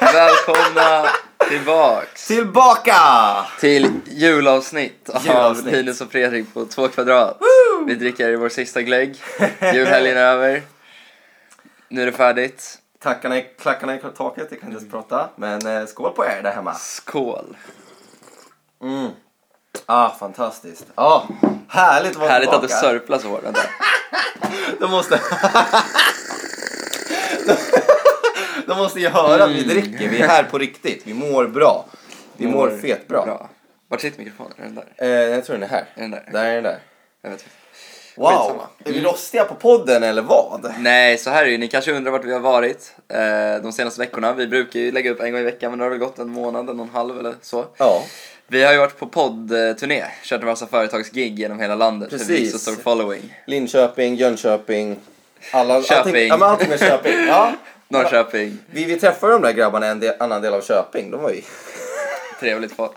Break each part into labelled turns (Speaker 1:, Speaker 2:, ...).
Speaker 1: Välkomna tillbaks
Speaker 2: Tillbaka!
Speaker 1: till julavsnitt av
Speaker 2: Julavsnitt.
Speaker 1: Linus och Fredrik på två kvadrat. Vi dricker vår sista glögg. Julhelgen är över. Nu är det färdigt.
Speaker 2: Tackarna i klackarna i taket, jag kan inte ens prata. Men eh, skål på er där hemma.
Speaker 1: Skål!
Speaker 2: Mm. Ah, fantastiskt. Ah, härligt att vara
Speaker 1: Härligt att
Speaker 2: tillbaka.
Speaker 1: det sörplar så hårt. Vänta.
Speaker 2: De måste... De måste ju höra att vi dricker. Vi är här på riktigt. Vi mår bra. Vi mår, fet bra.
Speaker 1: Vart sitter mikrofonen? Är den där?
Speaker 2: Eh, jag tror den är här.
Speaker 1: Är den där?
Speaker 2: Där är den där.
Speaker 1: Jag vet inte.
Speaker 2: Wow!
Speaker 1: Skitsamma.
Speaker 2: Är vi rostiga på podden eller vad?
Speaker 1: Nej, så här är det. Ni kanske undrar vart vi har varit eh, de senaste veckorna. Vi brukar ju lägga upp en gång i veckan, men nu har det väl gått en månad, en och en halv eller så.
Speaker 2: Ja.
Speaker 1: Vi har ju varit på poddturné, kört en massa företagsgig genom hela landet. För vi är så
Speaker 2: Precis.
Speaker 1: stor following.
Speaker 2: Linköping, Jönköping. Alla,
Speaker 1: Köping.
Speaker 2: Allting, ja, men allting med Köping. Ja.
Speaker 1: Norrköping,
Speaker 2: Vi, vi träffade de där grabbarna i en del, annan del av Köping. De var ju...
Speaker 1: trevligt folk.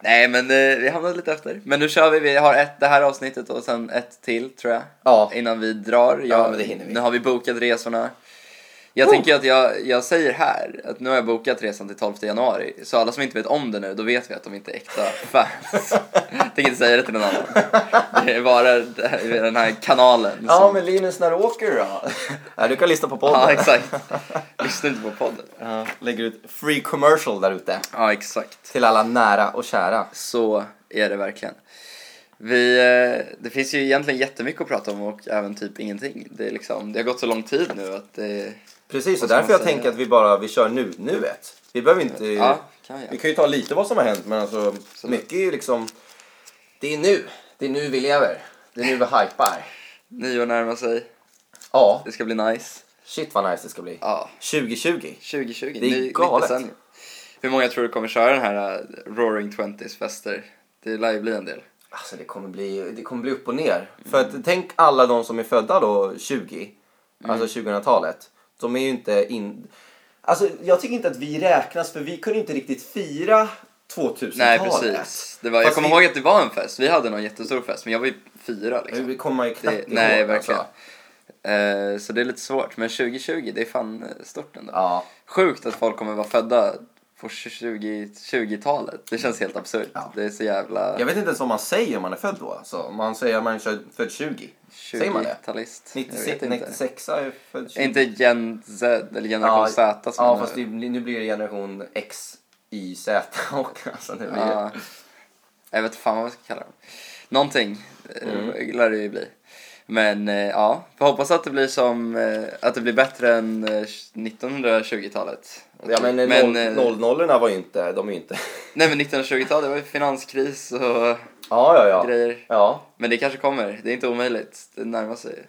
Speaker 1: Nej men eh, vi hamnade lite efter. Men nu kör vi, vi har ett det här avsnittet och sen ett till tror jag.
Speaker 2: Ja.
Speaker 1: Innan vi drar. Jag,
Speaker 2: men det hinner vi.
Speaker 1: Nu har vi bokat resorna. Jag tänker att jag, jag säger här att nu har jag bokat resan till 12 januari. Så alla som inte vet om det nu, då vet vi att de inte är äkta fans. tänker inte säga det till någon annan. Det är bara det här- den här kanalen. som-
Speaker 2: men Linus, när åker du då? ja, du kan lyssna på podden.
Speaker 1: ja exakt. Lyssna inte på podden.
Speaker 2: Ja, lägger ut free commercial där ute.
Speaker 1: Ja exakt.
Speaker 2: Till alla nära och kära.
Speaker 1: Så är det verkligen. Vi, eh, det finns ju egentligen jättemycket att prata om och även typ ingenting. Det, är liksom, det har gått så lång tid nu att det...
Speaker 2: Precis, och
Speaker 1: ska man
Speaker 2: därför jag
Speaker 1: säga?
Speaker 2: tänker att vi bara vi kör nu, nuet. Vi behöver inte...
Speaker 1: Ja, kan jag.
Speaker 2: Vi kan ju ta lite vad som har hänt, men alltså mycket är ju liksom... Det är nu. Det är nu vi lever. Det är nu vi hypar.
Speaker 1: Nyår närmar sig,
Speaker 2: Ja,
Speaker 1: det ska bli nice.
Speaker 2: shit vad nice det ska bli.
Speaker 1: Ja,
Speaker 2: 2020.
Speaker 1: 2020,
Speaker 2: Det är
Speaker 1: ny- nytt
Speaker 2: galet.
Speaker 1: decennium. Hur många tror du kommer köra den här eh, Roaring Twenties fester? Det lär ju bli en del.
Speaker 2: Alltså det kommer bli, det kommer bli upp och ner. För
Speaker 1: Mm.
Speaker 2: att tänk alla de som är födda då 20, alltså 2000-talet. De är ju inte in... Alltså jag tycker inte att vi räknas för vi kunde inte riktigt fira 2000-talet.
Speaker 1: Nej precis. Det var, jag
Speaker 2: Fast
Speaker 1: kommer
Speaker 2: vi-
Speaker 1: ihåg att det var en fest, vi hade någon jättestor fest men jag var ju fyra liksom.
Speaker 2: Vi kommer ju knappt
Speaker 1: Det,
Speaker 2: ihåg.
Speaker 1: nej verkligen.
Speaker 2: Alltså.
Speaker 1: Eh, så det är lite svårt men 2020 det är fan eh, stort ändå.
Speaker 2: Ja.
Speaker 1: Sjukt att folk kommer vara födda på 20 20-talet. Det känns helt absurt.
Speaker 2: Ja.
Speaker 1: Det är så jävla
Speaker 2: Jag vet inte ens vad man säger om man är född då. Alltså, man säger att man är född- född 20. Säger man det?
Speaker 1: 20-talist. Jag vet
Speaker 2: 96,
Speaker 1: inte.
Speaker 2: 96 är född 20.
Speaker 1: Inte Gen Z eller Generation
Speaker 2: ja,
Speaker 1: Z som
Speaker 2: ja
Speaker 1: man-
Speaker 2: fast det, nu blir det generation X, Y, Z och alltså nu blir det...
Speaker 1: Ja. Jag vet fan vad man ska kalla dem. Någonting eh,
Speaker 2: Mm.
Speaker 1: lär det ju bli. Men eh, ja, vi hoppas att det blir som eh, att det blir bättre än eh, 1920-talet.
Speaker 2: Ja men, eh,
Speaker 1: Men,
Speaker 2: noll,
Speaker 1: eh,
Speaker 2: nollnollorna var ju inte, de är ju inte...
Speaker 1: Nej men 1920-talet var ju finanskris och
Speaker 2: Ja, ja, ja.
Speaker 1: grejer.
Speaker 2: Ja,
Speaker 1: Men det kanske kommer, det är inte omöjligt. Det närmar sig.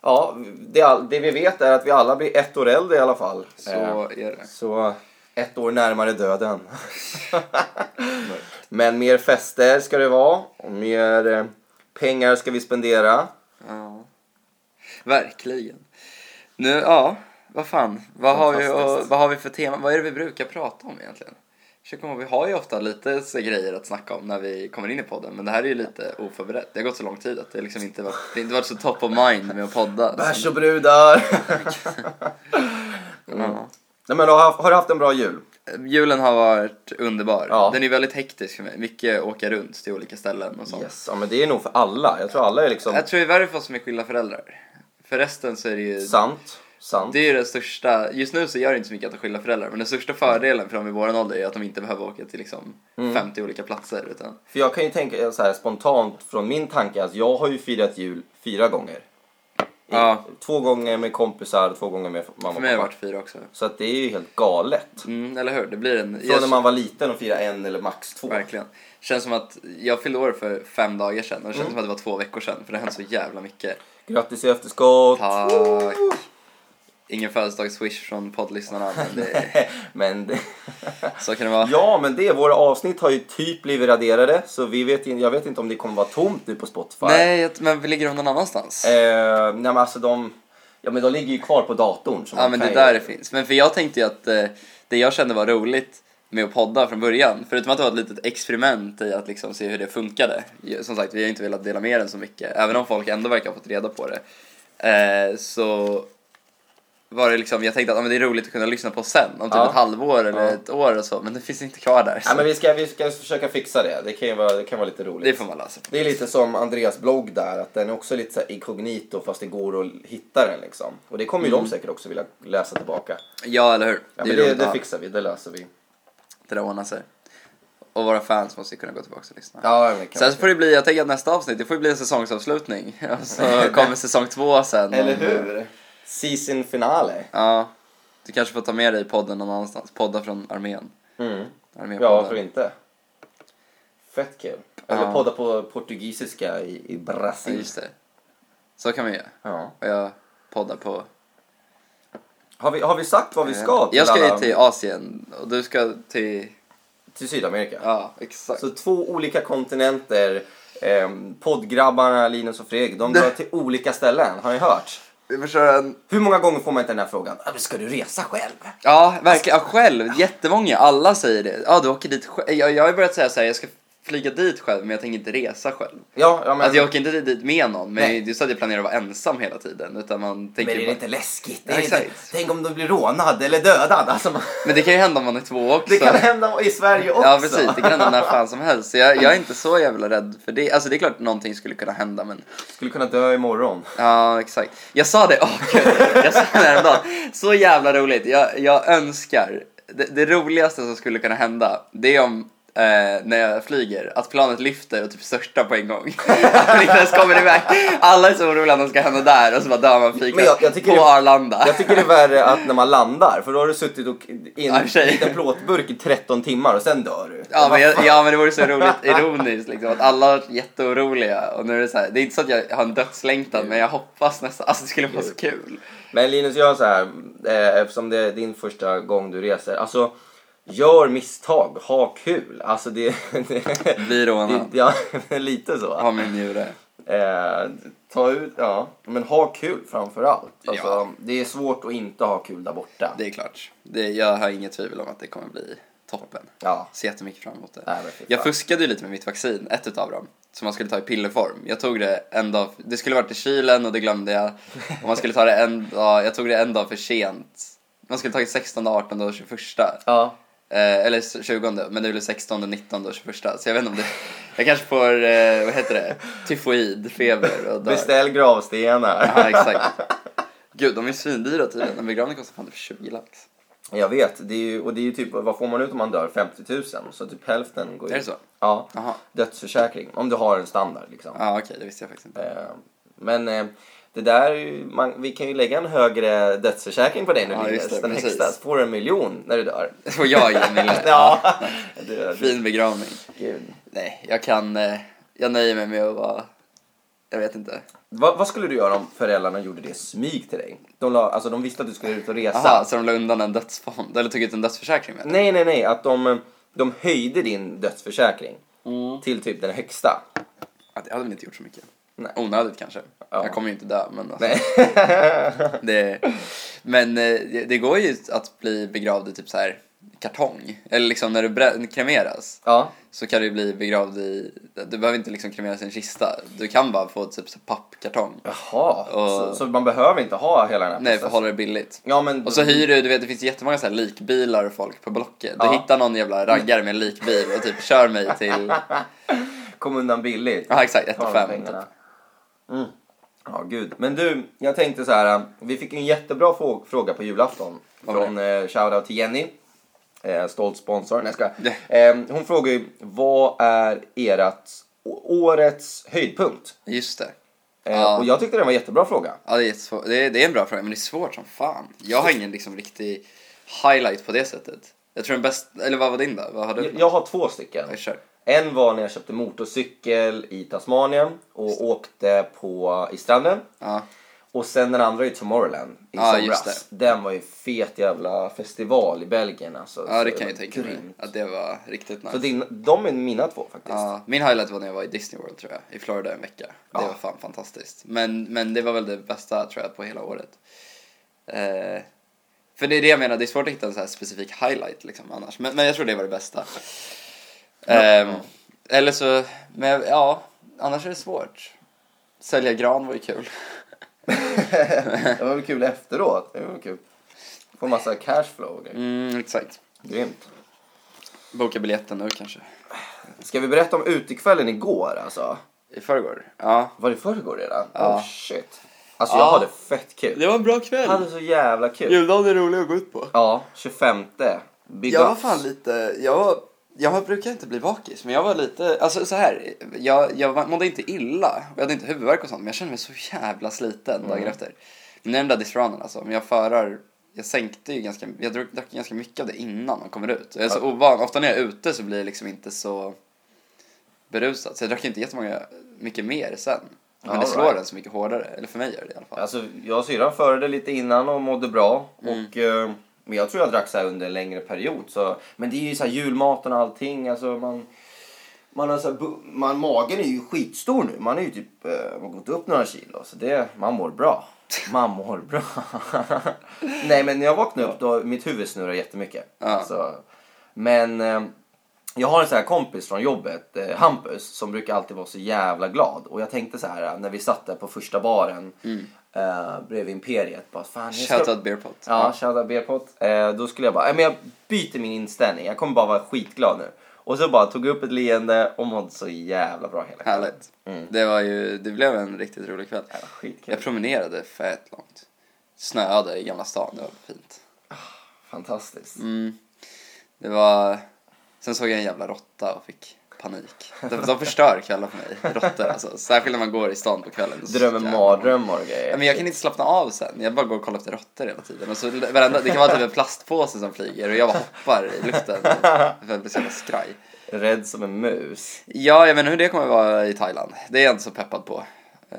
Speaker 2: ja det, all, det vi vet är att vi alla blir ett år äldre i alla fall.
Speaker 1: Så
Speaker 2: Eh,
Speaker 1: är det.
Speaker 2: så ett år närmare döden. Men mer fester ska det vara. Och mer eh, pengar ska vi spendera.
Speaker 1: Ja. Verkligen. Nu, ja, vad fan. Vad har, vi, och,
Speaker 2: Fantastiskt.
Speaker 1: vad har vi för tema? Vad är det vi brukar prata om egentligen? Försöker komma ihåg, Vi har ju ofta lite så grejer att snacka om när vi kommer in i podden, men det här är ju lite oförberett. Det har gått så lång tid att det liksom inte varit, det har inte varit så top of mind med att podda.
Speaker 2: Bärs och brudar.
Speaker 1: Ja.
Speaker 2: Nej, men har, har du haft en bra jul?
Speaker 1: Julen har varit underbar.
Speaker 2: Ja.
Speaker 1: Den är väldigt hektisk för mig. Mycket åka runt till olika ställen och sånt.
Speaker 2: Yes. Ja, men det är nog för alla. Jag tror alla är liksom...
Speaker 1: Jag tror det är värre för oss som är skilda föräldrar. För resten så är det ju
Speaker 2: Sant. Sant.
Speaker 1: Det är ju den största, just nu så gör det inte så mycket att ha skilda föräldrar men den största fördelen för dem i våran ålder är att de inte behöver åka till liksom
Speaker 2: Mm.
Speaker 1: 50 olika platser utan
Speaker 2: För jag kan ju tänka eh, så här spontant från min tanke. Alltså, jag har ju firat jul fyra gånger.
Speaker 1: Ja,
Speaker 2: Två gånger med kompisar, två gånger med mamma
Speaker 1: för
Speaker 2: och
Speaker 1: mig har det
Speaker 2: pappa.
Speaker 1: varit fyra också.
Speaker 2: Så att det är ju helt galet.
Speaker 1: Mm, eller hur? Det blir en...
Speaker 2: Från
Speaker 1: jag-
Speaker 2: när man var liten och firade en eller max två.
Speaker 1: Verkligen. Känns som att jag fyllde år för fem dagar sedan och det känns
Speaker 2: Mm.
Speaker 1: som att det var två veckor sedan för det har hänt så jävla mycket.
Speaker 2: Grattis i efterskott!
Speaker 1: Tack! Ingen födelsedags-swish från poddlyssnarna men det,
Speaker 2: men det...
Speaker 1: så kan det vara.
Speaker 2: Ja, men det. Våra avsnitt har ju typ blivit raderade. Så vi vet, in- jag vet inte om det kommer vara tomt nu på Spotify.
Speaker 1: Nej, jag- men vi ligger de någon annanstans?
Speaker 2: Eh, nej men alltså de... Ja men de ligger ju kvar på datorn. så
Speaker 1: Ja
Speaker 2: man
Speaker 1: men
Speaker 2: kan
Speaker 1: det
Speaker 2: ju-
Speaker 1: där det finns. Men för jag tänkte ju att eh, det jag kände var roligt med att podda från början, förutom att det var ett litet experiment i att liksom se hur det funkade. Som sagt, vi har inte velat dela med den så mycket, även om folk ändå verkar ha fått reda på det. Eh, så var det liksom, jag tänkte att ah, men det är roligt att kunna lyssna på sen, om typ
Speaker 2: Ja.
Speaker 1: ett halvår eller
Speaker 2: Ja.
Speaker 1: ett år och så, men det finns inte kvar där. Så
Speaker 2: Ja, men vi, ska, vi ska försöka fixa det. Det kan, ju vara, det kan vara lite roligt.
Speaker 1: Det får man lösa.
Speaker 2: Det är lite som Andreas blogg där, att den är också lite så här inkognito fast det går att hitta den liksom. Och det kommer
Speaker 1: Mm.
Speaker 2: ju de säkert också vilja läsa tillbaka.
Speaker 1: Ja, eller hur?
Speaker 2: Ja,
Speaker 1: det är
Speaker 2: men det,
Speaker 1: roligt att
Speaker 2: det
Speaker 1: ha.
Speaker 2: fixar vi, det löser vi.
Speaker 1: det där ordnar sig. Och våra fans måste ju kunna gå tillbaka och lyssna.
Speaker 2: Ja, men det kan
Speaker 1: Sen så får det bli, jag tänker att nästa avsnitt, det får ju bli en säsongsavslutning. Och så kommer säsong två sen.
Speaker 2: Eller hur? Season finale.
Speaker 1: Ja. Du kanske får ta med dig podden någon annanstans. Podda från armén.
Speaker 2: Mm. Ja, varför
Speaker 1: Armépodden.
Speaker 2: inte? Fett kul. Eller
Speaker 1: Ja.
Speaker 2: podda på portugisiska i, i
Speaker 1: Ja,
Speaker 2: Brasil.
Speaker 1: just det. Så kan vi göra.
Speaker 2: Ja.
Speaker 1: Och jag poddar på...
Speaker 2: Har, vi, har vi sagt vad vi ska till
Speaker 1: Eh, Jag ska ju
Speaker 2: alla-
Speaker 1: till Asien och du ska till...
Speaker 2: till Sydamerika?
Speaker 1: Ja, exakt.
Speaker 2: Så två olika kontinenter. ehm, poddgrabbarna Linus och Fredrik, de drar till olika ställen. Har ni hört?
Speaker 1: Vi får köra en...
Speaker 2: Hur många gånger får man inte den här frågan? "Ah, men Ska du resa själv?
Speaker 1: Ja, verkligen. Ja, själv. Jättemånga. Alla säger det. Ja, du åker dit själv. Jag, jag har ju börjat säga så här, jag ska flyga dit själv men jag tänker inte resa själv.
Speaker 2: Ja, ja men,
Speaker 1: Alltså jag åker inte dit med någon, men
Speaker 2: Nej.
Speaker 1: det är ju så att jag planerar att vara ensam hela tiden. Utan man tänker
Speaker 2: men är
Speaker 1: ju
Speaker 2: det
Speaker 1: bara...
Speaker 2: inte läskigt?
Speaker 1: Ja,
Speaker 2: Är det inte,
Speaker 1: exakt.
Speaker 2: tänk om du blir rånad eller dödad? Alltså, man,
Speaker 1: men det kan ju hända om man är två också.
Speaker 2: det kan hända i Sverige också.
Speaker 1: Ja precis, det kan hända när fan som helst. Så jag, jag är inte så jävla rädd för det. Alltså det är klart att någonting skulle kunna hända men...
Speaker 2: Skulle kunna dö imorgon.
Speaker 1: Ja exakt. Jag sa det, åh gud. Jag sa det häromdagen. Så jävla roligt. Jag, jag önskar, det, det roligaste som skulle kunna hända det är om eh, när jag flyger, att planet lyfter och typ störtar på en gång. Att man inte ens kommer iväg. Alla är så oroliga att något ska hända där och så bara dör man
Speaker 2: Men
Speaker 1: fikar
Speaker 2: jag- jag tycker
Speaker 1: på
Speaker 2: det-
Speaker 1: Arlanda.
Speaker 2: Jag tycker det är värre att när man landar, för då har du suttit och i
Speaker 1: Ja, i
Speaker 2: en
Speaker 1: och för sig.
Speaker 2: liten plåtburk i 13 timmar och sen dör du.
Speaker 1: Ja men, jag, ja men det vore så roligt ironiskt liksom att alla är jätteoroliga och nu är det så här, det är inte så att jag har en dödslängtan men jag hoppas nästan, alltså det skulle vara så kul.
Speaker 2: Men Linus, gör så här, eh, eftersom det är din första gång du reser. Alltså, gör misstag, ha kul. Alltså det... det
Speaker 1: Bli
Speaker 2: det-
Speaker 1: rånad,
Speaker 2: ja, lite så.
Speaker 1: ha min njure.
Speaker 2: Eh, ta ut, ja. Men ha kul framför allt. Alltså,
Speaker 1: Ja.
Speaker 2: Det är svårt att inte ha kul där borta.
Speaker 1: Det är klart, det, jag har inget tvivel om att det kommer bli toppen.
Speaker 2: Ja.
Speaker 1: Ser jättemycket fram emot det.
Speaker 2: Nej, men fy
Speaker 1: Jag
Speaker 2: fan.
Speaker 1: fuskade ju lite med mitt vaccin, ett utav dem, som man skulle ta i pillerform. Jag tog det en dag, det skulle varit i kylen och det glömde jag. Och man skulle ta det en dag, jag tog det en dag för sent. Man skulle tagit 16, 18 och 21.
Speaker 2: ja.
Speaker 1: Eh, eller s- 20, men det är väl 16, 19 och 21. Så jag vet inte om det... Jag kanske får, eh, vad heter det, tyfoid, feber och dör.
Speaker 2: Beställ gravstenar.
Speaker 1: Ja, exakt. Gud, de är svindyra tydligen. En begravning kostar fan typ 20 lax.
Speaker 2: Jag vet, det är ju, och det är ju typ, vad får man ut om man dör? 50 000. Så typ hälften går
Speaker 1: Är det så?
Speaker 2: Ja.
Speaker 1: Jaha.
Speaker 2: Dödsförsäkring, om du har en standard liksom.
Speaker 1: Ja, okej, det visste jag faktiskt inte.
Speaker 2: Eh, Men eh, det där, är ju- man, vi kan ju lägga en högre dödsförsäkring på dig nu
Speaker 1: Ja,
Speaker 2: Linus.
Speaker 1: just det,
Speaker 2: Den
Speaker 1: precis.
Speaker 2: högsta, så får du en miljon när du dör.
Speaker 1: Det får jag ge min lön.
Speaker 2: Ja, du,
Speaker 1: Fin begravning.
Speaker 2: gud.
Speaker 1: Nej, jag kan... Eh, jag nöjer mig med att vara... Jag vet inte.
Speaker 2: Vad, vad skulle du göra om föräldrarna gjorde det i smyg till dig? De, la, alltså, de visste att du skulle ut och resa.
Speaker 1: Aha, så de la undan en dödsfond, eller tog ut en dödsförsäkring med
Speaker 2: Nej, nej, nej. Att de, eh, de höjde din dödsförsäkring
Speaker 1: mm.
Speaker 2: till typ den högsta.
Speaker 1: ja, Det hade väl inte gjort så mycket.
Speaker 2: Nej.
Speaker 1: Onödigt kanske.
Speaker 2: Ja.
Speaker 1: Jag kommer ju inte dö, men alltså.
Speaker 2: Nej.
Speaker 1: Det, men eh, det, det går ju att bli begravd i typ så här kartong. Eller liksom när du brä- kremeras
Speaker 2: ja.
Speaker 1: så kan du ju bli begravd i... Du behöver inte liksom kremeras i en kista. Du kan bara få typ så här pappkartong.
Speaker 2: Jaha, så,
Speaker 1: Och-
Speaker 2: så man behöver inte ha hela den här
Speaker 1: Nej, för
Speaker 2: processen?
Speaker 1: att hålla det billigt.
Speaker 2: Ja, men...
Speaker 1: Och så hyr du, du vet det finns jättemånga så här likbilar och folk på Blocket. Du
Speaker 2: Ja.
Speaker 1: hittar någon jävla raggare med en likbil och typ kör mig till...
Speaker 2: Kom undan billigt.
Speaker 1: Ja exakt, 1
Speaker 2: Ta de
Speaker 1: fem typ.
Speaker 2: pengarna. Mm. Ja, gud. Men du, jag tänkte så här. eh, Vi fick ju en jättebra frå- fråga på julafton.
Speaker 1: Vad var
Speaker 2: Från eh, shoutout till Jenny. Eh, stolt sponsor. Nej, jag
Speaker 1: Ja.
Speaker 2: skojar. eh, Hon frågar ju, vad är ert å- årets höjdpunkt?
Speaker 1: Just det.
Speaker 2: Eh,
Speaker 1: Ja.
Speaker 2: Och jag tyckte det var en jättebra fråga.
Speaker 1: Ja, det är, svår, det, är, det är en bra fråga, men det är svårt som fan. Jag har ingen liksom riktig highlight på det sättet. Jag tror den bästa, eller vad var din då? Vad har du?
Speaker 2: Jag, jag har två stycken.
Speaker 1: Jag kör.
Speaker 2: En var när jag köpte motorcykel i Tasmanien och åkte på, i stranden.
Speaker 1: Ja,
Speaker 2: Och sen den andra är Tomorrowland i
Speaker 1: Ja,
Speaker 2: somras.
Speaker 1: just
Speaker 2: Den var ju fet jävla festival i Belgien alltså.
Speaker 1: ja
Speaker 2: Så
Speaker 1: det kan jag
Speaker 2: var
Speaker 1: tänka mig.
Speaker 2: grymt.
Speaker 1: Att det var riktigt
Speaker 2: Så
Speaker 1: nice.
Speaker 2: din, de är mina två faktiskt.
Speaker 1: Ja, min highlight var när jag var i Disney World tror jag, i Florida en vecka. Det
Speaker 2: Ja.
Speaker 1: var fan fantastiskt. Men, men det var väl det bästa tror jag på hela året. Eh, för det är det jag menar, det är svårt att hitta en så här specifik highlight liksom annars. Men, men jag tror det var det bästa. Ehm, Eller så, men jag- ja, annars är det svårt. Sälja gran var ju kul.
Speaker 2: det var väl kul efteråt. Det var väl kul. Få massa cashflow och grejer.
Speaker 1: Mm, exakt.
Speaker 2: Grymt.
Speaker 1: Boka biljetten nu kanske.
Speaker 2: Ska vi berätta om utekvällen igår alltså?
Speaker 1: I förrgår. Ja.
Speaker 2: Var det i förrgår redan?
Speaker 1: Ja.
Speaker 2: Oh shit. Alltså jag
Speaker 1: Ja.
Speaker 2: hade fett kul.
Speaker 1: var en bra
Speaker 2: Jag
Speaker 1: kväll.
Speaker 2: hade så jävla kul.
Speaker 1: Juldagen är rolig att gå ut på.
Speaker 2: Ja, 25. Big
Speaker 1: Jag var
Speaker 2: ups.
Speaker 1: fan lite, jag var, jag brukar inte bli bakis men jag var lite, alltså så här, jag, jag var- mådde inte illa och jag hade inte huvudvärk och sånt men jag kände mig så jävla sliten dagen
Speaker 2: Mm.
Speaker 1: efter. Men det är den där disranen alltså, men jag förar, jag sänkte ju ganska, jag drack, drack ganska mycket av det innan man kommer ut. Jag är så ovan, ofta när jag är ute så blir jag liksom inte så berusad så jag drack inte jättemånga, mycket mer sen. Men det
Speaker 2: Alright.
Speaker 1: slår en så mycket hårdare, eller för mig gör det i alla fall.
Speaker 2: Alltså, jag och syrran förde lite innan och mådde bra.
Speaker 1: Mm.
Speaker 2: Och, eh, men jag tror jag drack så här under en längre period. Så, men det är ju så här julmaten och allting. Alltså, man, man har så här, bu- man, magen är ju skitstor nu. Man är ju typ, eh, man har gått upp några kilo. Så det, man mår bra. Man mår bra. Nej men när jag vaknade upp då, mitt huvud snurrar jättemycket.
Speaker 1: Ja.
Speaker 2: Så, men eh, jag har en sån här kompis från jobbet, eh, Hampus, som brukar alltid vara så jävla glad. Och jag tänkte så här eh, när vi satt där på första baren
Speaker 1: Mm.
Speaker 2: eh, bredvid Imperiet. Bara, Fan, jag ska-
Speaker 1: Shoutout beer pot.
Speaker 2: Ja, shoutout Beerpot. Eh, då skulle jag bara, "Nej, men jag byter min inställning. Jag kommer bara vara skitglad nu. Och så bara tog jag upp ett leende och mådde så jävla bra hela kvällen.
Speaker 1: Härligt. Det, var ju, det blev en riktigt rolig kväll.
Speaker 2: Jävla Skitkul.
Speaker 1: Jag promenerade fett långt. Snöade i Gamla stan, det var fint.
Speaker 2: Fantastiskt.
Speaker 1: Mm. Det var... Sen såg jag en jävla råtta och fick panik. De, de förstör kvällar för mig, råttor alltså. Särskilt när man går i stan på kvällen. Så
Speaker 2: Drömmer
Speaker 1: jävla-
Speaker 2: mardrömmar och
Speaker 1: Ja,
Speaker 2: grejer.
Speaker 1: Men jag kan inte slappna av sen. Jag bara går och kollar efter råttor hela tiden. Och så varenda, det kan vara typ en plastpåse som flyger och jag bara hoppar i luften. För jag blir så jävla skraj.
Speaker 2: Rädd som en mus.
Speaker 1: Ja, jag vet inte hur det kommer vara i Thailand. Det är jag inte så peppad på. Eh,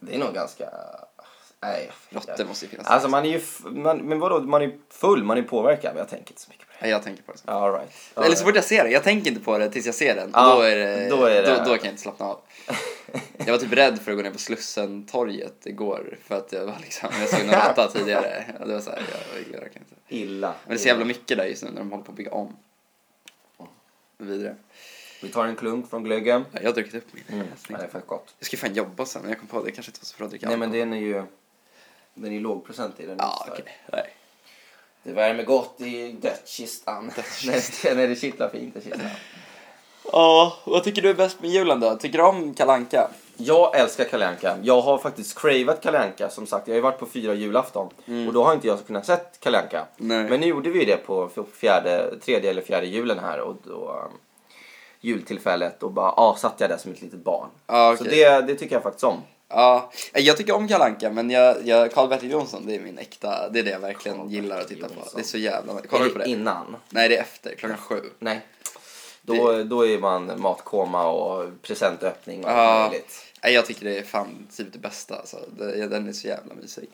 Speaker 2: Det är nog ganska... Nej,
Speaker 1: råttor måste ju finnas.
Speaker 2: Alltså man är ju... f- Man, men vadå, man är full, man är påverkad. Men jag tänker inte så mycket på det.
Speaker 1: Nej, Jag tänker på det. sen.
Speaker 2: All right. All
Speaker 1: Eller så
Speaker 2: right.
Speaker 1: fort jag ser den. Jag tänker inte på det tills jag ser den.
Speaker 2: Ja,
Speaker 1: då, är det,
Speaker 2: då är det-
Speaker 1: Då, då kan jag inte slappna av. Jag var typ rädd för att gå ner på Slussentorget igår för att jag var liksom, jag såg en råtta tidigare. Och det var så här, jag, jag orkar inte.
Speaker 2: Illa.
Speaker 1: Men det är så jävla mycket där just nu när de håller på att bygga om. Vidare.
Speaker 2: Vi tar en klunk från glöggen.
Speaker 1: Ja, Jag har druckit upp min. Jag
Speaker 2: Det är
Speaker 1: tänkte-
Speaker 2: fett gott.
Speaker 1: Jag ska fan jobba sen men jag kom på det, det kanske inte var så bra att dricka
Speaker 2: Nej men
Speaker 1: alkohol.
Speaker 2: den är ju... Den är lågprocentig. Den är
Speaker 1: Ja,
Speaker 2: inte stark.
Speaker 1: okej. Nej.
Speaker 2: Det värmer gott i dödskistan. när, det- när det kittlar fint i kistan.
Speaker 1: Ja, vad tycker du är bäst med julen då? Tycker du om kalanka?
Speaker 2: Jag älskar Kalle Anka. Jag har faktiskt cravat Kalle Anka. Som sagt, jag har ju varit på fyra julafton.
Speaker 1: Mm.
Speaker 2: Och då har inte jag kunnat sett Kalle Anka.
Speaker 1: Nej.
Speaker 2: Men nu gjorde vi ju det på f- fjärde, tredje eller fjärde julen här. Och då, um, jultillfället. Och bara ah, satt jag där som ett litet barn.
Speaker 1: Ja, okej.
Speaker 2: Så det, det tycker jag faktiskt om.
Speaker 1: Ja, jag tycker om Kalanka men jag, jag, Karl-Bertil Jonsson det är min äkta, det är det jag verkligen gillar att titta på.
Speaker 2: Jonsson.
Speaker 1: Det är så jävla Kollar du på det?
Speaker 2: Innan.
Speaker 1: Nej, det är efter, klockan sju.
Speaker 2: Nej. Då, då är man matkoma och presentöppning och allt
Speaker 1: Ja.
Speaker 2: möjligt.
Speaker 1: Nej, jag tycker det är fan typ det bästa alltså. Det, den är så jävla mysig.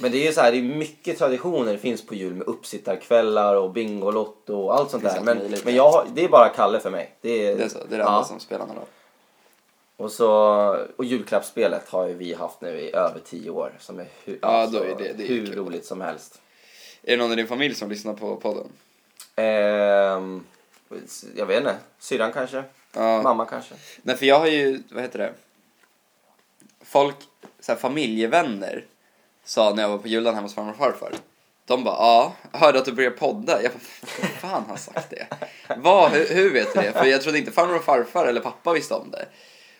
Speaker 2: Men det är ju så här, det är mycket traditioner det finns på jul med uppsittarkvällar och Bingolotto och allt sånt
Speaker 1: Finns
Speaker 2: där.
Speaker 1: allt
Speaker 2: Men,
Speaker 1: möjligt.
Speaker 2: men jag, har- det är bara Kalle för mig. Det är
Speaker 1: Det är så, det är det enda
Speaker 2: ja.
Speaker 1: som spelar någon roll.
Speaker 2: och, så, och julklappsspelet har ju vi haft nu i över tio år. Som är hur,
Speaker 1: Ja, då är det- det är ju
Speaker 2: hur
Speaker 1: kul.
Speaker 2: roligt som helst.
Speaker 1: Är det någon i din familj som lyssnar på podden?
Speaker 2: Ehm, jag vet inte, syrran kanske?
Speaker 1: Ja.
Speaker 2: Mamma kanske?
Speaker 1: Nej, för jag har ju, vad heter det? Folk, så här, familjevänner, sa när jag var på julen hemma hos farmor och farfar. De bara, ja, hörde att du började podda. Jag bara, "Vad fan har sagt det? Vad, hur, hur vet du det? För jag trodde inte farmor och farfar eller pappa visste om det.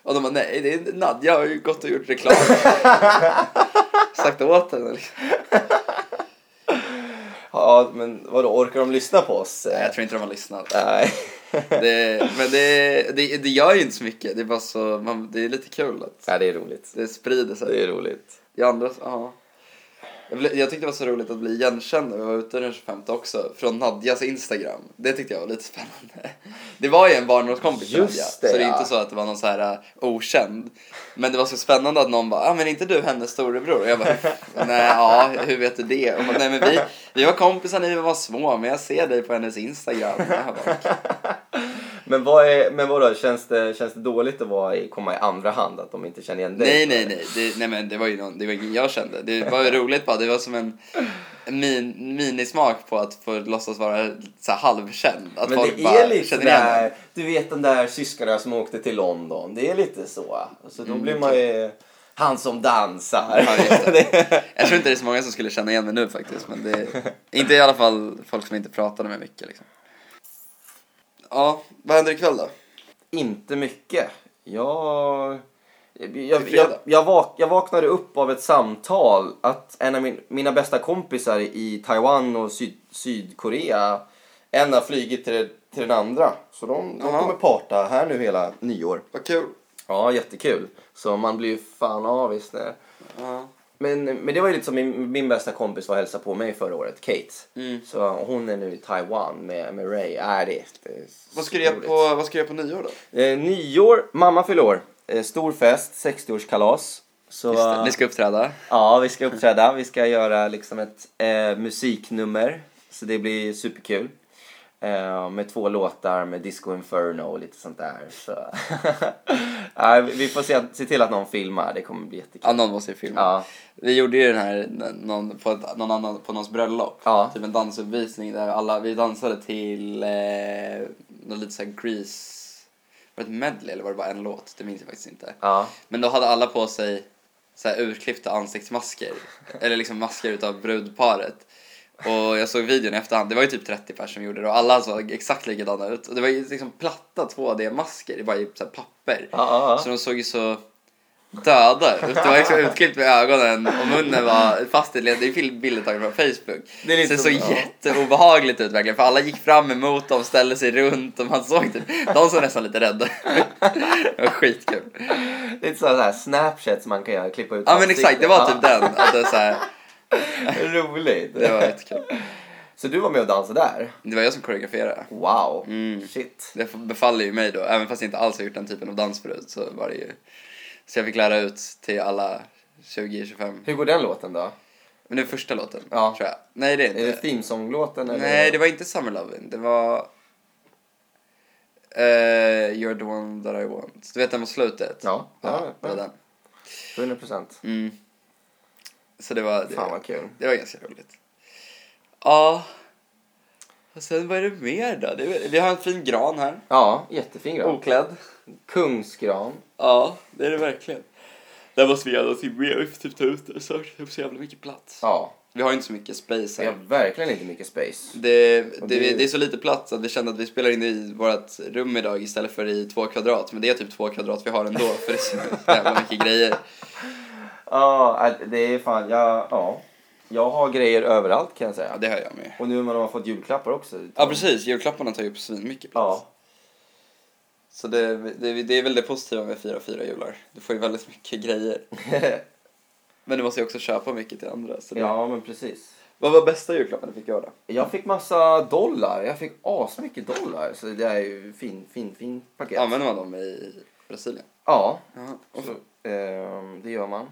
Speaker 1: Och de bara, nej, det är Nadja har ju gått och gjort reklam. sagt åt henne liksom.
Speaker 2: Ja, men vadå, orkar de lyssna på oss?
Speaker 1: Nej, jag tror inte de har lyssnat.
Speaker 2: Nej.
Speaker 1: Det, men det, det, det gör ju inte så mycket. Det är bara så, man, det är lite kul att
Speaker 2: Ja, det är roligt.
Speaker 1: det sprider sig.
Speaker 2: Det är roligt.
Speaker 1: I andra, ja. Jag, blev, jag tyckte det var så roligt att bli igenkänd när vi var ute den 25 också. Från Nadjas Instagram. Det tyckte jag var lite spännande. Det var ju en barndomskompis till
Speaker 2: Just
Speaker 1: Nadja.
Speaker 2: det,
Speaker 1: så det är
Speaker 2: ja.
Speaker 1: inte så att det var någon så här äh, okänd. Men det var så spännande att någon bara, ah, men är inte du hennes storebror? Och jag bara, nej, ja, hur vet du det? Och hon bara, nej men vi, vi var kompisar när vi var små, men jag ser dig på hennes Instagram. Och jag bara,
Speaker 2: Men, vad är, men vadå, känns det, känns det dåligt att vara i, komma i andra hand? Att de inte känner igen dig?
Speaker 1: Nej, nej, nej. Det, nej men det var ju någon, det var ingen jag kände. Det var ju roligt bara. Det var som en min, minismak på att få låtsas vara så här halvkänd. Att
Speaker 2: Men
Speaker 1: folk
Speaker 2: det
Speaker 1: bara
Speaker 2: är lite
Speaker 1: känner igen en.
Speaker 2: där, du vet den där syskonen som åkte till London. Det är lite så. Så då blir man ju... Han som dansar.
Speaker 1: Mm, Ja, just det. Jag tror inte det är så många som skulle känna igen mig nu faktiskt. Men det är inte i alla fall folk som inte pratade med mycket liksom. Ja, vad händer ikväll då?
Speaker 2: Inte mycket. Jag... Jag, jag,
Speaker 1: fredag.
Speaker 2: jag, jag, vak, jag vaknade upp av ett samtal att en av min, mina bästa kompisar i Taiwan och syd, Sydkorea, en har flugit till, till den andra. Så de, de
Speaker 1: Jaha.
Speaker 2: kommer parta här nu hela nyår.
Speaker 1: Vad kul.
Speaker 2: Ja, jättekul. Så man blir ju fan avis när...
Speaker 1: Ja.
Speaker 2: Men, men det var ju lite som min, min bästa kompis var och hälsade på mig förra året, Kate.
Speaker 1: Mm.
Speaker 2: Så hon är nu i Taiwan med, med Ray. Äh, det, det är
Speaker 1: Vad ska, du göra
Speaker 2: roligt.
Speaker 1: på, vad ska du göra på nyår då?
Speaker 2: Eh, nyår, mamma fyller år. Eh, stor fest, 60-årskalas. Så,
Speaker 1: Just det, ni ska uppträda.
Speaker 2: Ja, vi ska uppträda. Vi ska göra liksom ett eh, musiknummer. Så det blir superkul. Eh, med två låtar med Disco Inferno och lite sånt där. Så. ja, vi- vi får se, se till att någon filmar. Det kommer bli jättekul.
Speaker 1: Ja, någon måste ju filma.
Speaker 2: Ja.
Speaker 1: Vi gjorde ju den här någon, på, ett, någon annan, på någons bröllop.
Speaker 2: Ja.
Speaker 1: Typ en dansuppvisning där alla, vi dansade till eh, någon lite såhär Grease... Var det ett medley eller var det bara en låt? Det minns jag faktiskt inte.
Speaker 2: Ja.
Speaker 1: Men då hade alla på sig så här urklippta ansiktsmasker. eller liksom masker utav brudparet. Och jag såg videon i efterhand, det var ju typ 30 personer som gjorde det och alla såg exakt likadana ut. Och det var ju liksom platta 2D-masker, bara i så här papper.
Speaker 2: Ja, ja, ja.
Speaker 1: Så de såg ju så döda ut. Det var liksom utklippt med ögonen och munnen var fast i led. Det är ju bilder tagna från Facebook.
Speaker 2: Det är lite
Speaker 1: så det
Speaker 2: som- ja.
Speaker 1: såg jätteobehagligt ut verkligen. För alla gick fram emot dem, ställde sig runt och man såg typ, de såg nästan lite rädda Det var skitkul.
Speaker 2: Lite så här Snapchat som man kan göra, klippa ut
Speaker 1: Ja men exakt, det var typ den. Att det, är så här,
Speaker 2: den. Roligt.
Speaker 1: det var jättekul.
Speaker 2: Så du var med och dansade där?
Speaker 1: Det var jag som koreograferade.
Speaker 2: Wow.
Speaker 1: Mm.
Speaker 2: Shit.
Speaker 1: Det befaller ju mig då, även fast jag inte alls har gjort den typen av dans förut så var det ju... Så jag fick lära ut till alla 20-25.
Speaker 2: Hur går den låten då?
Speaker 1: Men det är första låten,
Speaker 2: Ja.
Speaker 1: tror jag. Nej det är
Speaker 2: Är
Speaker 1: inte.
Speaker 2: det themesånglåten? eller?
Speaker 1: Eh, Nej, det var inte Summer Lovin'. Det var... eh, You're the one that I want. Du vet den mot slutet?
Speaker 2: Ja, ja,
Speaker 1: det var
Speaker 2: ja.
Speaker 1: den.
Speaker 2: 100 procent.
Speaker 1: Mm. Så det var... Det,
Speaker 2: Fan vad kul.
Speaker 1: det var ganska roligt. Ja. Och sen vad är det mer då? Det är, väl- vi har en fin gran här.
Speaker 2: Ja, jättefin gran.
Speaker 1: Oklädd.
Speaker 2: Kungsgran.
Speaker 1: Ja, det är det verkligen. Där måste vi göra någonting mer. Vi får typ ta ut det snart. Det är så jävla mycket plats.
Speaker 2: Ja,
Speaker 1: Vi har ju inte så mycket space
Speaker 2: så
Speaker 1: här.
Speaker 2: jag har verkligen inte mycket space.
Speaker 1: Det,
Speaker 2: Och
Speaker 1: det,
Speaker 2: det-
Speaker 1: det är så lite plats att vi kände att vi spelar in i vårt rum idag istället för i två kvadrat. Men det är typ två kvadrat vi har ändå för det är så jävla mycket grejer.
Speaker 2: Ja, äh, det är fan, jag, ja. Jag har grejer överallt kan jag
Speaker 1: Ja,
Speaker 2: säga.
Speaker 1: det hör jag med.
Speaker 2: Och nu när man har fått julklappar också.
Speaker 1: Ja, precis. Julklapparna tar ju upp svinmycket plats.
Speaker 2: Ja,
Speaker 1: Så det, det, det är väl det positiva med fyra fyra jular. Du får ju väldigt mycket grejer. Men du måste ju också köpa mycket till andra. Så det...
Speaker 2: ja men precis.
Speaker 1: Vad var bästa julklappen du fick göra då?
Speaker 2: Jag fick massa dollar. Jag fick asmycket dollar. Så det är ju fin, fin, fin paket.
Speaker 1: Använder man dem i Brasilien?
Speaker 2: Ja,
Speaker 1: Jaha. Och-
Speaker 2: så, ehm, det gör man.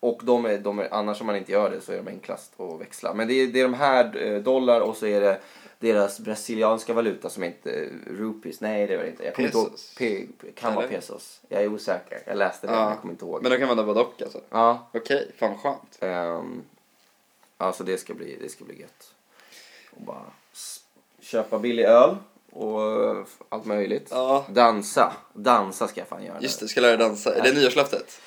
Speaker 2: Och de är, de är, annars om man inte gör det så är de enklast att växla. Men det är, det är de här eh, dollar och så är det deras brasilianska valuta som inte eh, rupees. Nej, det var det inte. Jag kommer
Speaker 1: Pesos.
Speaker 2: inte ihåg. Pe, kan vara
Speaker 1: Eller?
Speaker 2: pesos. Jag är osäker. Jag läste det,
Speaker 1: Ja.
Speaker 2: men jag kommer inte ihåg.
Speaker 1: Men då kan man använda både och alltså?
Speaker 2: Ja,
Speaker 1: Okej, fan skönt.
Speaker 2: ehm, alltså det ska bli, det ska bli gött. Och bara s- köpa billig öl och eh, allt möjligt.
Speaker 1: Ja.
Speaker 2: Dansa. Dansa ska jag fan göra.
Speaker 1: Just det, ska lära dig dansa. Är det nyårslöftet?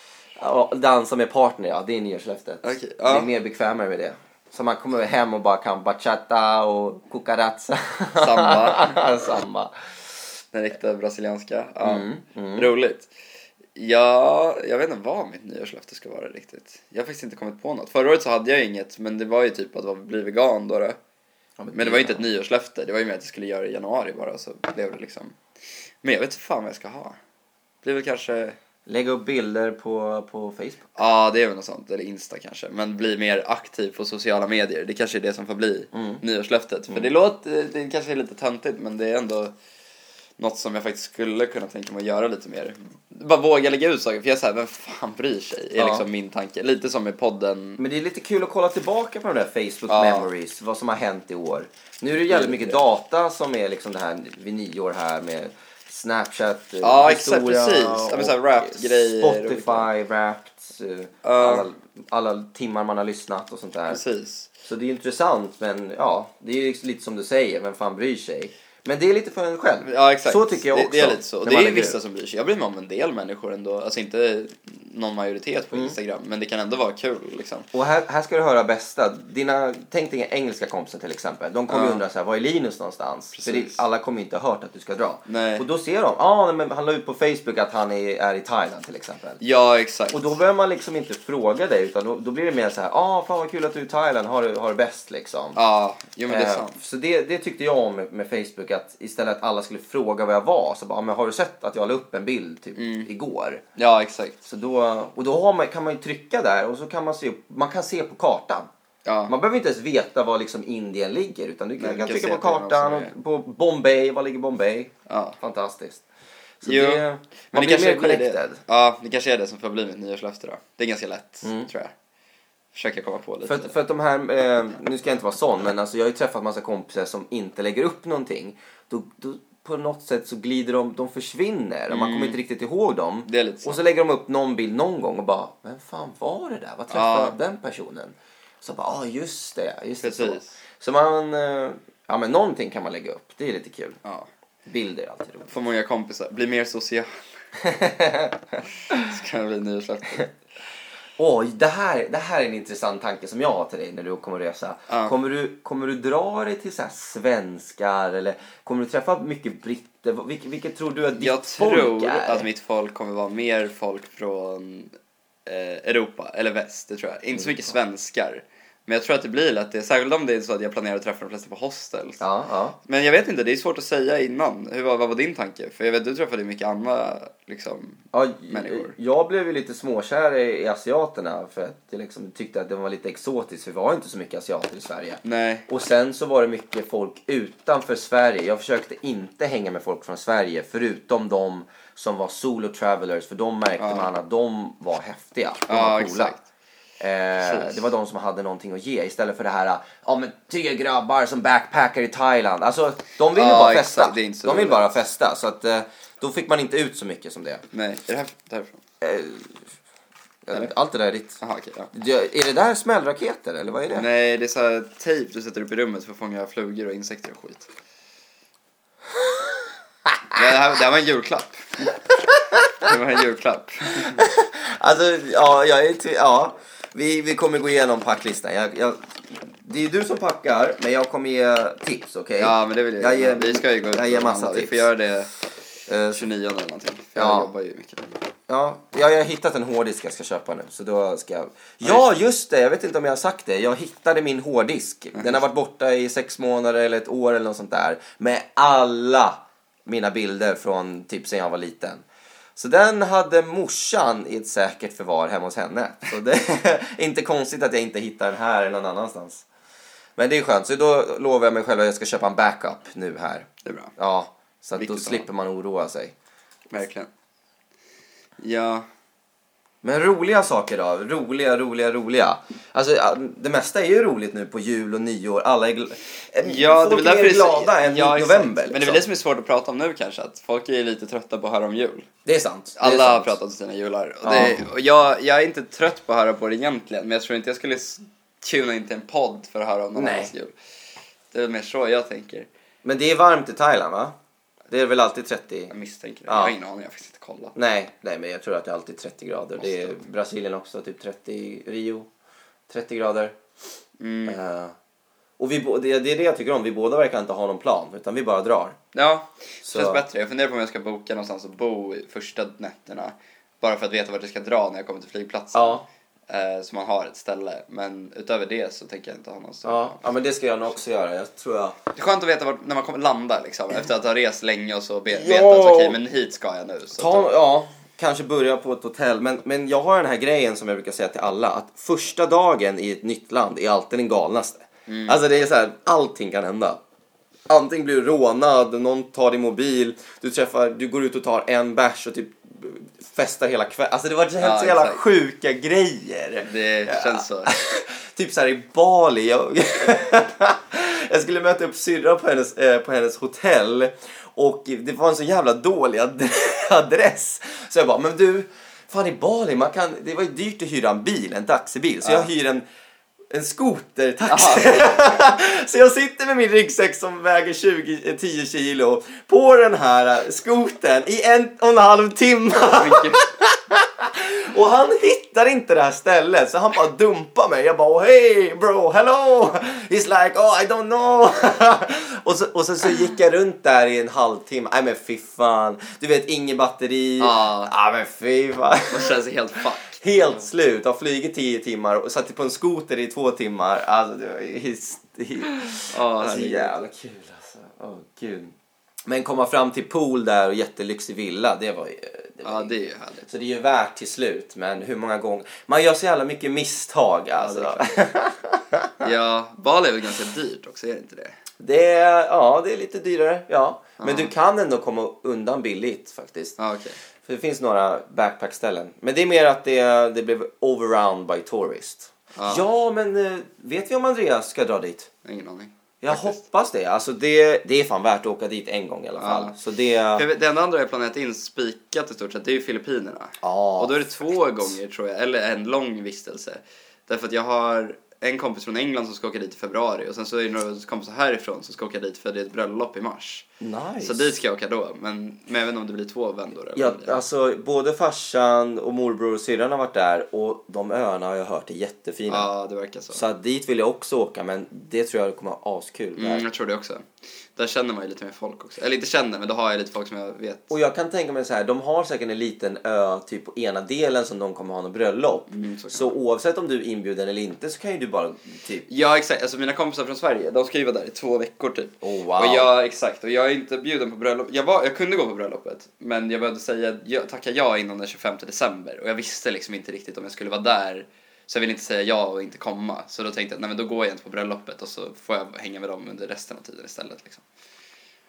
Speaker 2: Ja, dansa med partner, ja. Det är nyårslöftet.
Speaker 1: Okej,
Speaker 2: Det
Speaker 1: ja.
Speaker 2: är mer bekvämare med det. Så man kommer hem och bara kan bachata och cucarazza.
Speaker 1: Samba.
Speaker 2: Samba.
Speaker 1: Den riktiga brasilianska. Ja.
Speaker 2: Mm, mm.
Speaker 1: Roligt. Ja, jag vet inte vad mitt nyårslöfte ska vara riktigt. Jag har faktiskt inte kommit på något. Förra året så hade jag inget, men det var ju typ att vara- bli vegan då. då. Men det var ju inte ett nyårslöfte, det var ju mer att jag skulle göra det i januari bara så blev det liksom. Men jag vet inte fan vad jag ska ha. Det blir väl kanske, ja
Speaker 2: Lägga upp bilder på, på Facebook.
Speaker 1: det är väl något sånt, eller Insta kanske. Men bli mer aktiv på sociala medier, det kanske är det som får bli
Speaker 2: Mm.
Speaker 1: nyårslöftet. För det låter, det kanske är lite töntigt men det är ändå något som jag faktiskt skulle kunna tänka mig att göra lite mer. Bara våga lägga ut saker, för jag är såhär, vem fan bryr sig? Är
Speaker 2: Ja. Mm.
Speaker 1: liksom min tanke. Lite som med podden.
Speaker 2: Men det är lite kul att kolla tillbaka på de där Facebook
Speaker 1: Ja.
Speaker 2: memories, vad som har hänt i år. Nu är det jävligt mycket data som är liksom det här vid nyår här med Snapchat, eh,
Speaker 1: Ja, exakt,
Speaker 2: historia
Speaker 1: precis. Ja, men så här
Speaker 2: och
Speaker 1: Wrapped-grejer och
Speaker 2: Spotify, Wrapped, eh, alla, alla timmar man har lyssnat och sånt där.
Speaker 1: Precis.
Speaker 2: Så det är intressant, men ja, det är ju lite som du säger, vem fan bryr sig? Men det är lite för en själv.
Speaker 1: Ja exakt.
Speaker 2: Så tycker jag
Speaker 1: Det-
Speaker 2: också.
Speaker 1: Det är lite så.
Speaker 2: när
Speaker 1: Och det
Speaker 2: man
Speaker 1: är ju
Speaker 2: lägger
Speaker 1: vissa
Speaker 2: ut.
Speaker 1: som bryr sig. Jag bryr mig om en del människor ändå. Alltså inte någon majoritet
Speaker 2: Mm.
Speaker 1: på Instagram, men det kan ändå vara kul liksom.
Speaker 2: Och här, här ska du höra bästa. Dina, tänk dig engelska kompisar till exempel. De kommer ju
Speaker 1: Ja.
Speaker 2: undra så här, var är Linus någonstans? För det,
Speaker 1: Precis.
Speaker 2: alla kommer ju inte ha hört att du ska dra.
Speaker 1: Nej.
Speaker 2: Och då ser de, ah, nej, men han la ut på Facebook att han är, är i Thailand till exempel.
Speaker 1: Ja, exakt.
Speaker 2: Och då behöver man liksom inte fråga dig utan då, då blir det mer så här, ah fan vad kul att du är i Thailand, har det, har det bäst liksom.
Speaker 1: Ja, jo men det är
Speaker 2: Eh,
Speaker 1: sant.
Speaker 2: Så det, det tyckte jag om med, med Facebook att istället att alla skulle fråga vad jag var så bara, ah, men har du sett att jag la upp en bild typ
Speaker 1: Mm.
Speaker 2: igår?
Speaker 1: Ja, exakt.
Speaker 2: Så då, och då har man, kan man ju trycka där och så kan man se, man kan se på kartan.
Speaker 1: Ja.
Speaker 2: Man behöver inte ens veta var liksom Indien ligger utan du kan,
Speaker 1: Nej, du
Speaker 2: kan
Speaker 1: kan
Speaker 2: trycka
Speaker 1: se
Speaker 2: på
Speaker 1: att det är någon
Speaker 2: kartan,
Speaker 1: som är-
Speaker 2: och på Bombay, var ligger Bombay?
Speaker 1: Ja.
Speaker 2: Fantastiskt. Så
Speaker 1: Jo,
Speaker 2: det,
Speaker 1: men
Speaker 2: man blir mer
Speaker 1: är
Speaker 2: connected.
Speaker 1: Det. Ja, det kanske är det som får bli mitt nyårslöfte då. Det är ganska lätt, tror jag. Försöker komma på lite.
Speaker 2: Mm. För, att- för att de här, eh, nu ska jag inte vara sån, men alltså jag har ju träffat massa kompisar som inte lägger upp någonting. Då, då på något sätt så glider de, de försvinner och man kommer inte riktigt ihåg dem.
Speaker 1: Mm. Det är lite så.
Speaker 2: och så lägger de upp någon bild någon gång och bara, vem fan var det där? Vad träffade jag den personen? Så bara, ah just det, just det. Så.
Speaker 1: Precis.
Speaker 2: så man, eh, ja men någonting kan man lägga upp, det är lite kul.
Speaker 1: Ja.
Speaker 2: Bilder är alltid roligt.
Speaker 1: Få många kompisar, bli mer social. Så kan det bli nyårslöfte.
Speaker 2: Åh, det, här, det här är en intressant tanke som jag har till dig när du kommer resa.
Speaker 1: Ja.
Speaker 2: Kommer, du, kommer du dra dig till så här svenskar eller kommer du träffa mycket britter? Vil- Vilket, vilket tror du att ditt
Speaker 1: Jag
Speaker 2: folk
Speaker 1: tror
Speaker 2: är?
Speaker 1: att mitt folk kommer vara mer folk från eh, Europa, eller väst, det tror jag. Inte så mycket svenskar. Men jag tror att det blir att det, särskilt om det är så att jag planerar att träffa de flesta på hostel.
Speaker 2: Ja, ja.
Speaker 1: Men jag vet inte, det är svårt att säga innan. Hur, var- vad var din tanke? För jag vet du träffade ju mycket andra liksom.
Speaker 2: ja
Speaker 1: Människor.
Speaker 2: jag blev ju lite småkär i, i asiaterna för att jag liksom tyckte att det var lite exotiskt för vi har inte så mycket asiater i Sverige.
Speaker 1: Nej.
Speaker 2: Och sen så var det mycket folk utanför Sverige. Jag försökte inte hänga med folk från Sverige förutom de som var solo travelers för de märkte
Speaker 1: Ja.
Speaker 2: man att de var häftiga. De
Speaker 1: Ja,
Speaker 2: var coola.
Speaker 1: exakt.
Speaker 2: Eh,
Speaker 1: Precis.
Speaker 2: det var de som hade någonting att ge istället för det här ja men tre grabbar som backpackar i Thailand. Alltså de vill ju
Speaker 1: Ja,
Speaker 2: bara
Speaker 1: exakt.
Speaker 2: festa.
Speaker 1: Det är inte så
Speaker 2: de vill
Speaker 1: roligt.
Speaker 2: bara festa så att eh, då fick man inte ut så mycket som det.
Speaker 1: Nej, är det här därifrån?
Speaker 2: Eh, Allt det där är ditt.
Speaker 1: Jaha, okej. ja.
Speaker 2: Ja, Är det där smällraketer eller vad är det?
Speaker 1: Nej, det är så här tejp du sätter upp i rummet för att fånga flugor och insekter och skit. Det här, det här var en julklapp. Det var en julklapp.
Speaker 2: Alltså, ja, jag är tv- ja. Vi, vi kommer gå igenom packlistan. Jag, jag, det är du som packar, men jag kommer ge tips, okej?
Speaker 1: Ja, men det vill jag,
Speaker 2: Jag ger-
Speaker 1: göra. Vi ska ju gå ut
Speaker 2: jag ger
Speaker 1: och
Speaker 2: massa
Speaker 1: handla. Vi
Speaker 2: tips.
Speaker 1: får göra det
Speaker 2: Eh,
Speaker 1: 29 eller någonting. För
Speaker 2: Ja.
Speaker 1: jag jobbar ju mycket.
Speaker 2: ja, jag har hittat en hårddisk jag ska köpa nu, så då ska jag... Ja, just det! Jag vet inte om jag har sagt det. Jag hittade min hårddisk. Den har varit borta i sex månader eller ett år eller något sånt där. Med alla mina bilder från typ sen jag var liten. Så den hade morsan i ett säkert förvar hemma hos henne. Så det är inte konstigt att jag inte hittar den här eller någon annanstans. Men det är skönt, så då lovar jag mig själv att jag ska köpa en backup nu här.
Speaker 1: Det är bra.
Speaker 2: Ja, så att då
Speaker 1: Viktigt att ha.
Speaker 2: slipper man oroa sig.
Speaker 1: Verkligen. Ja.
Speaker 2: Men roliga saker då? Roliga, roliga, roliga. Alltså ja, det mesta är ju roligt nu på jul och nyår. Alla är gl- eh,
Speaker 1: Ja, det är
Speaker 2: Folk
Speaker 1: väl därför
Speaker 2: är
Speaker 1: det är så-
Speaker 2: glada än
Speaker 1: Ja,
Speaker 2: i
Speaker 1: exakt.
Speaker 2: november. liksom.
Speaker 1: Men det är väl det som är svårt att prata om nu kanske, att folk är ju lite trötta på att höra om jul.
Speaker 2: Det är sant. det är
Speaker 1: Alla har
Speaker 2: sant.
Speaker 1: pratat om sina jular. Och
Speaker 2: Ja.
Speaker 1: det, och jag, jag är inte trött på att höra på det egentligen, men jag tror inte jag skulle s- tuna in till en podd för att höra om någon
Speaker 2: Nej.
Speaker 1: annans jul. Det är väl mer så jag tänker.
Speaker 2: Men det är varmt i Thailand va? Det är väl alltid 30?
Speaker 1: Jag misstänker det.
Speaker 2: Ja.
Speaker 1: Jag har ingen aning, jag har faktiskt inte kollat.
Speaker 2: Nej, nej men jag tror att det är alltid 30 grader. Det är Brasilien också, typ 30, Rio 30 grader.
Speaker 1: Mm.
Speaker 2: Eh, och vi, bo- det, det är det jag tycker om, vi båda verkar inte ha någon plan utan vi bara drar.
Speaker 1: Ja,
Speaker 2: Så-
Speaker 1: känns bättre. Jag funderar på om jag ska boka någonstans och bo i första nätterna. Bara för att veta vart jag ska dra när jag kommer till flygplatsen.
Speaker 2: Ja,
Speaker 1: Eh, så man har ett ställe. Men utöver det så tänker jag inte ha någon större
Speaker 2: ja, ja men det ska jag nog också göra. Jag tror jag...
Speaker 1: Det är skönt att veta vart, när man kommer landa liksom. Efter att ha rest länge och så be, veta
Speaker 2: Mm. Ja.
Speaker 1: att okej, men hit ska jag nu. Så att-
Speaker 2: Ta, ja, kanske börja på ett hotell. Men, men jag har den här grejen som jag brukar säga till alla. Att första dagen i ett nytt land är alltid den galnaste.
Speaker 1: Mm.
Speaker 2: Alltså det är så här, allting kan hända. Antingen blir du rånad, någon tar din mobil, du träffar, du går ut och tar en bärs och typ festar hela kvällen. Alltså det var så
Speaker 1: Ja,
Speaker 2: så jävla
Speaker 1: exakt.
Speaker 2: sjuka grejer.
Speaker 1: Det känns så.
Speaker 2: typ så här i Bali. Jag, jag skulle möta upp syrran på hennes, eh, på hennes hotell och det var en så jävla dålig ad- adress. Så jag bara, men du, fan i Bali, man kan, det var ju dyrt att hyra en bil, en taxibil. Så jag hyr en En skoter, tack!
Speaker 1: Jaha.
Speaker 2: Så jag sitter med min ryggsäck som väger 20, eh, 10 kilo på den här eh, skotern i en och en halv timme.
Speaker 1: Vilken-
Speaker 2: Och han hittar inte det här stället så han bara dumpar mig. Jag bara hej bro, hello! He's like oh I don't know. och, så, och sen så gick jag runt där i en halvtimme. Nej men fy fan. Du vet inget batteri.
Speaker 1: Ja.
Speaker 2: ah, men fy fan.
Speaker 1: Man känner sig helt fuck.
Speaker 2: Helt slut, har flugit 10 timmar och satt på en skoter i två timmar. Alltså det var ju hysteri-
Speaker 1: Ja,
Speaker 2: Alltså
Speaker 1: herregud.
Speaker 2: jävla kul alltså. Åh gud. Men komma fram till pool där och jättelyxig villa, det var ju... Det var
Speaker 1: ja,
Speaker 2: ju-
Speaker 1: det är ju härligt.
Speaker 2: Så det är ju värt till slut, men hur många gånger... Man gör så jävla mycket misstag alltså.
Speaker 1: Ja, Bali är väl ganska dyrt också, är det inte det?
Speaker 2: det är, ja, det är lite dyrare, ja. Men
Speaker 1: Ja.
Speaker 2: du kan ändå komma undan billigt faktiskt.
Speaker 1: Ja, okej.
Speaker 2: För det finns några backpackställen. Men det är mer att det, det blev overrun by tourist.
Speaker 1: Ja.
Speaker 2: Ja, men eh, vet vi om Andreas ska dra dit?
Speaker 1: Ingen aning.
Speaker 2: Jag hoppas det. Alltså det, det är fan värt att åka dit en gång i alla fall.
Speaker 1: Ja.
Speaker 2: Så det...
Speaker 1: För jag vet, Det enda andra jag planerat in spikat i stort sett, det är ju Filippinerna.
Speaker 2: Ja.
Speaker 1: Och då är det två gånger tror jag, eller en lång vistelse. Därför att jag har en kompis från England som ska åka dit i februari och sen så är det några kompisar härifrån som ska åka dit för det är ett bröllop i mars.
Speaker 2: Nice.
Speaker 1: Så dit ska jag åka då, men, men även om det blir två vändor. eller
Speaker 2: Ja,
Speaker 1: vad det är.
Speaker 2: alltså både farsan och morbror och syrran har varit där och de öarna har jag hört är jättefina.
Speaker 1: ja, det verkar så.
Speaker 2: Så att dit vill jag också åka men det tror jag kommer vara askul. där.
Speaker 1: Mm, jag tror det också. Där känner man ju lite mer folk också. Eller inte känner, men då har jag lite folk som jag vet.
Speaker 2: Och jag kan tänka mig så här, de har säkert en liten ö typ på ena delen som de kommer ha något bröllop.
Speaker 1: Mm, så
Speaker 2: så
Speaker 1: kan
Speaker 2: oavsett om du är inbjuden eller inte så kan ju du bara typ...
Speaker 1: Ja, exakt. Alltså mina kompisar från Sverige, de ska ju vara där i två veckor typ.
Speaker 2: Oh, wow.
Speaker 1: Och jag, exakt. Och jag är inte bjuden på bröllop. Jag, var, jag kunde gå på bröllopet, men jag behövde säga ja- tacka ja innan den 25 december. Och jag visste liksom inte riktigt om jag skulle vara där. Så jag ville inte säga ja och inte komma. Så då tänkte jag, nej men då går jag inte på bröllopet och så får jag hänga med dem under resten av tiden istället. Liksom.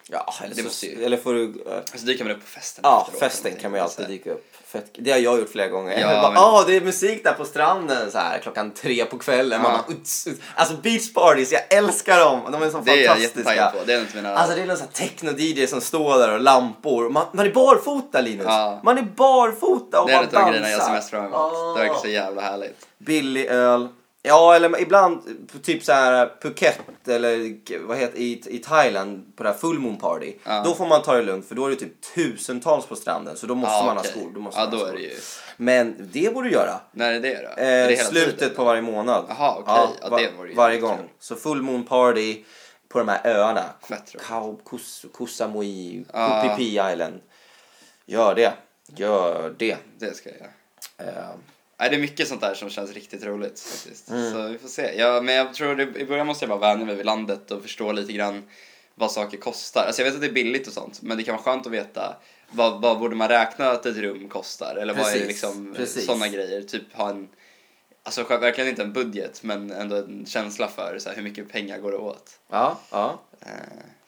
Speaker 2: Ja, eller,
Speaker 1: Det
Speaker 2: så,
Speaker 1: måste ju-
Speaker 2: eller får du... eh,
Speaker 1: Så Alltså, dyker man upp på festen
Speaker 2: Ja,
Speaker 1: efteråt,
Speaker 2: festen
Speaker 1: eller
Speaker 2: kan man ju alltid
Speaker 1: någonting.
Speaker 2: dyka upp. Fett, det har jag gjort flera gånger.
Speaker 1: Ja,
Speaker 2: Ja, bara,
Speaker 1: men-
Speaker 2: "Ah, det är musik där på stranden så här, klockan tre på kvällen. Man
Speaker 1: Ja.
Speaker 2: bara, uts, uts. Alltså beach parties, jag älskar dem. De är så
Speaker 1: Det är jag
Speaker 2: fantastiska.
Speaker 1: jättetaggad på. Det är en av mina...
Speaker 2: Alltså det är någon sån här techno-DJ som står där och lampor. Man, man är barfota Linus.
Speaker 1: Ja.
Speaker 2: Man är barfota och
Speaker 1: det är
Speaker 2: man
Speaker 1: en av grejerna jag ser
Speaker 2: dansar.
Speaker 1: mest fram emot.
Speaker 2: Ah.
Speaker 1: Det verkar så jävla härligt.
Speaker 2: Billig öl. Ja, eller ibland på typ så här Phuket eller vad heter i, i Thailand på det här full moon party.
Speaker 1: Ja.
Speaker 2: Då får man ta det lugnt för då är det typ tusentals på stranden så då måste
Speaker 1: Ja,
Speaker 2: man
Speaker 1: okej.
Speaker 2: ha skor. Då måste
Speaker 1: ja,
Speaker 2: man ha
Speaker 1: då är
Speaker 2: skor.
Speaker 1: det ju...
Speaker 2: Men det borde du göra.
Speaker 1: När är det då? Är det
Speaker 2: Eh,
Speaker 1: hela
Speaker 2: slutet
Speaker 1: tiden?
Speaker 2: på varje månad.
Speaker 1: Jaha, okej. Ja, det var ju
Speaker 2: varje
Speaker 1: jävligt
Speaker 2: gång.
Speaker 1: kul.
Speaker 2: Så full moon party på de här öarna.
Speaker 1: Fett roligt.
Speaker 2: Kau, Kus, Kusamui,
Speaker 1: Ja.
Speaker 2: Kupipi Island. Gör det. Gör det.
Speaker 1: Det ska jag göra.
Speaker 2: Eh,
Speaker 1: Nej, det är mycket sånt där som känns riktigt roligt faktiskt.
Speaker 2: Mm.
Speaker 1: Så vi får se. Ja, men jag tror det, i början måste jag bara vänja mig vid landet och förstå lite grann vad saker kostar. Alltså jag vet att det är billigt och sånt, men det kan vara skönt att veta vad, vad borde man räkna att ett rum kostar? Eller vad är det
Speaker 2: Precis,
Speaker 1: liksom
Speaker 2: precis.
Speaker 1: sådana grejer? Typ ha en, alltså själv- verkligen inte en budget, men ändå en känsla för så här, hur mycket pengar går det åt.
Speaker 2: ja, ja.
Speaker 1: Eh,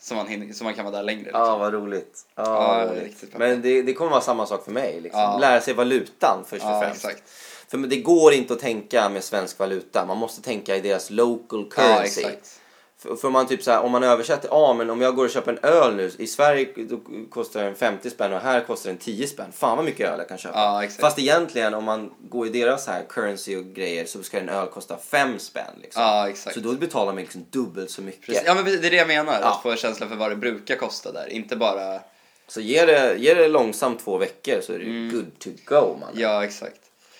Speaker 1: så, man hinner, så man kan vara där längre.
Speaker 2: Ja,
Speaker 1: Liksom.
Speaker 2: vad roligt. Ja,
Speaker 1: Ja,
Speaker 2: vad
Speaker 1: det är
Speaker 2: roligt.
Speaker 1: riktigt bra.
Speaker 2: Men det, det kommer vara samma sak för mig. Liksom.
Speaker 1: Ja.
Speaker 2: Lära sig valutan först och
Speaker 1: Ja,
Speaker 2: främst.
Speaker 1: exakt.
Speaker 2: För det går inte att tänka med svensk valuta. Man måste tänka i deras local
Speaker 1: Ja,
Speaker 2: currency.
Speaker 1: exakt.
Speaker 2: För, för man typ så här, om man översätter, ja men om jag går och köper en öl nu, i Sverige då kostar den 50 spänn och här kostar den 10 spänn. Fan vad mycket öl jag kan köpa.
Speaker 1: Ja, exakt.
Speaker 2: Fast egentligen om man går i deras här currency och grejer så ska en öl kosta 5 spänn. Liksom.
Speaker 1: Ja, exakt.
Speaker 2: Så då betalar man liksom dubbelt så mycket.
Speaker 1: Precis. Ja men precis, det är det jag menar,
Speaker 2: Ja.
Speaker 1: att få en känsla för vad det brukar kosta där. Inte bara,
Speaker 2: Så ge det, ge det långsamt två veckor så är det
Speaker 1: Mm.
Speaker 2: ju good to go man.
Speaker 1: ja exakt.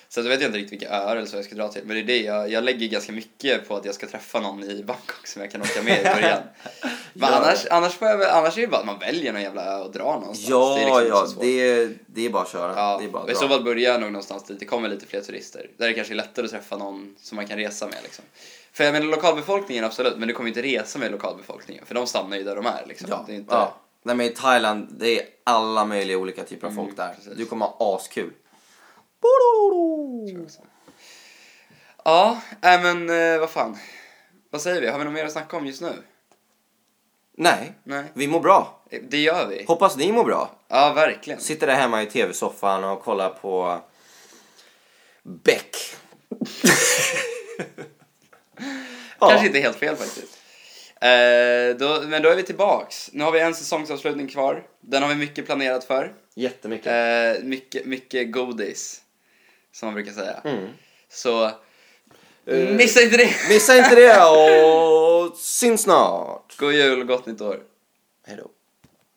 Speaker 1: Så då vet jag inte riktigt vilka öar eller så jag ska dra till. Men det är det, jag, jag lägger ganska mycket på att jag ska träffa någon i Bangkok som jag kan åka med i början. Men
Speaker 2: Ja.
Speaker 1: annars, annars, får jag, väl- annars är det bara att man väljer någon jävla ö och drar någonstans.
Speaker 2: Ja,
Speaker 1: det är liksom
Speaker 2: ja,
Speaker 1: inte så svårt.
Speaker 2: det är, det är bara att köra.
Speaker 1: Ja,
Speaker 2: det är bara att
Speaker 1: I
Speaker 2: dra.
Speaker 1: så fall börjar jag nog någonstans dit det kommer lite fler turister. Där det kanske är lättare att träffa någon som man kan resa med liksom. För jag menar lokalbefolkningen absolut, men du kommer ju inte resa med lokalbefolkningen för de stannar ju där de är liksom.
Speaker 2: Ja,
Speaker 1: Det är inte...
Speaker 2: ja. Nej, men i Thailand, det är alla möjliga olika typer av folk där.
Speaker 1: Mm, precis.
Speaker 2: Du kommer ha askul.
Speaker 1: Ja, nej men eh, vad fan. Vad säger vi? Har vi något mer att snacka om just nu?
Speaker 2: Nej,
Speaker 1: Nej.
Speaker 2: vi mår bra.
Speaker 1: Eh, Det gör vi.
Speaker 2: Hoppas ni mår bra.
Speaker 1: Ja, verkligen.
Speaker 2: Sitter där hemma i tv-soffan och kollar på Beck. ja.
Speaker 1: Kanske inte helt fel faktiskt. Eh, då, men då är vi tillbaks. Nu har vi en säsongsavslutning kvar. Den har vi mycket planerat för.
Speaker 2: Jättemycket.
Speaker 1: Eh, mycket, mycket godis. Som man brukar säga. Så
Speaker 2: Eh,
Speaker 1: Mm. Missa inte det!
Speaker 2: Missa inte det och syns snart.
Speaker 1: God jul och gott nytt år.
Speaker 2: Hej då.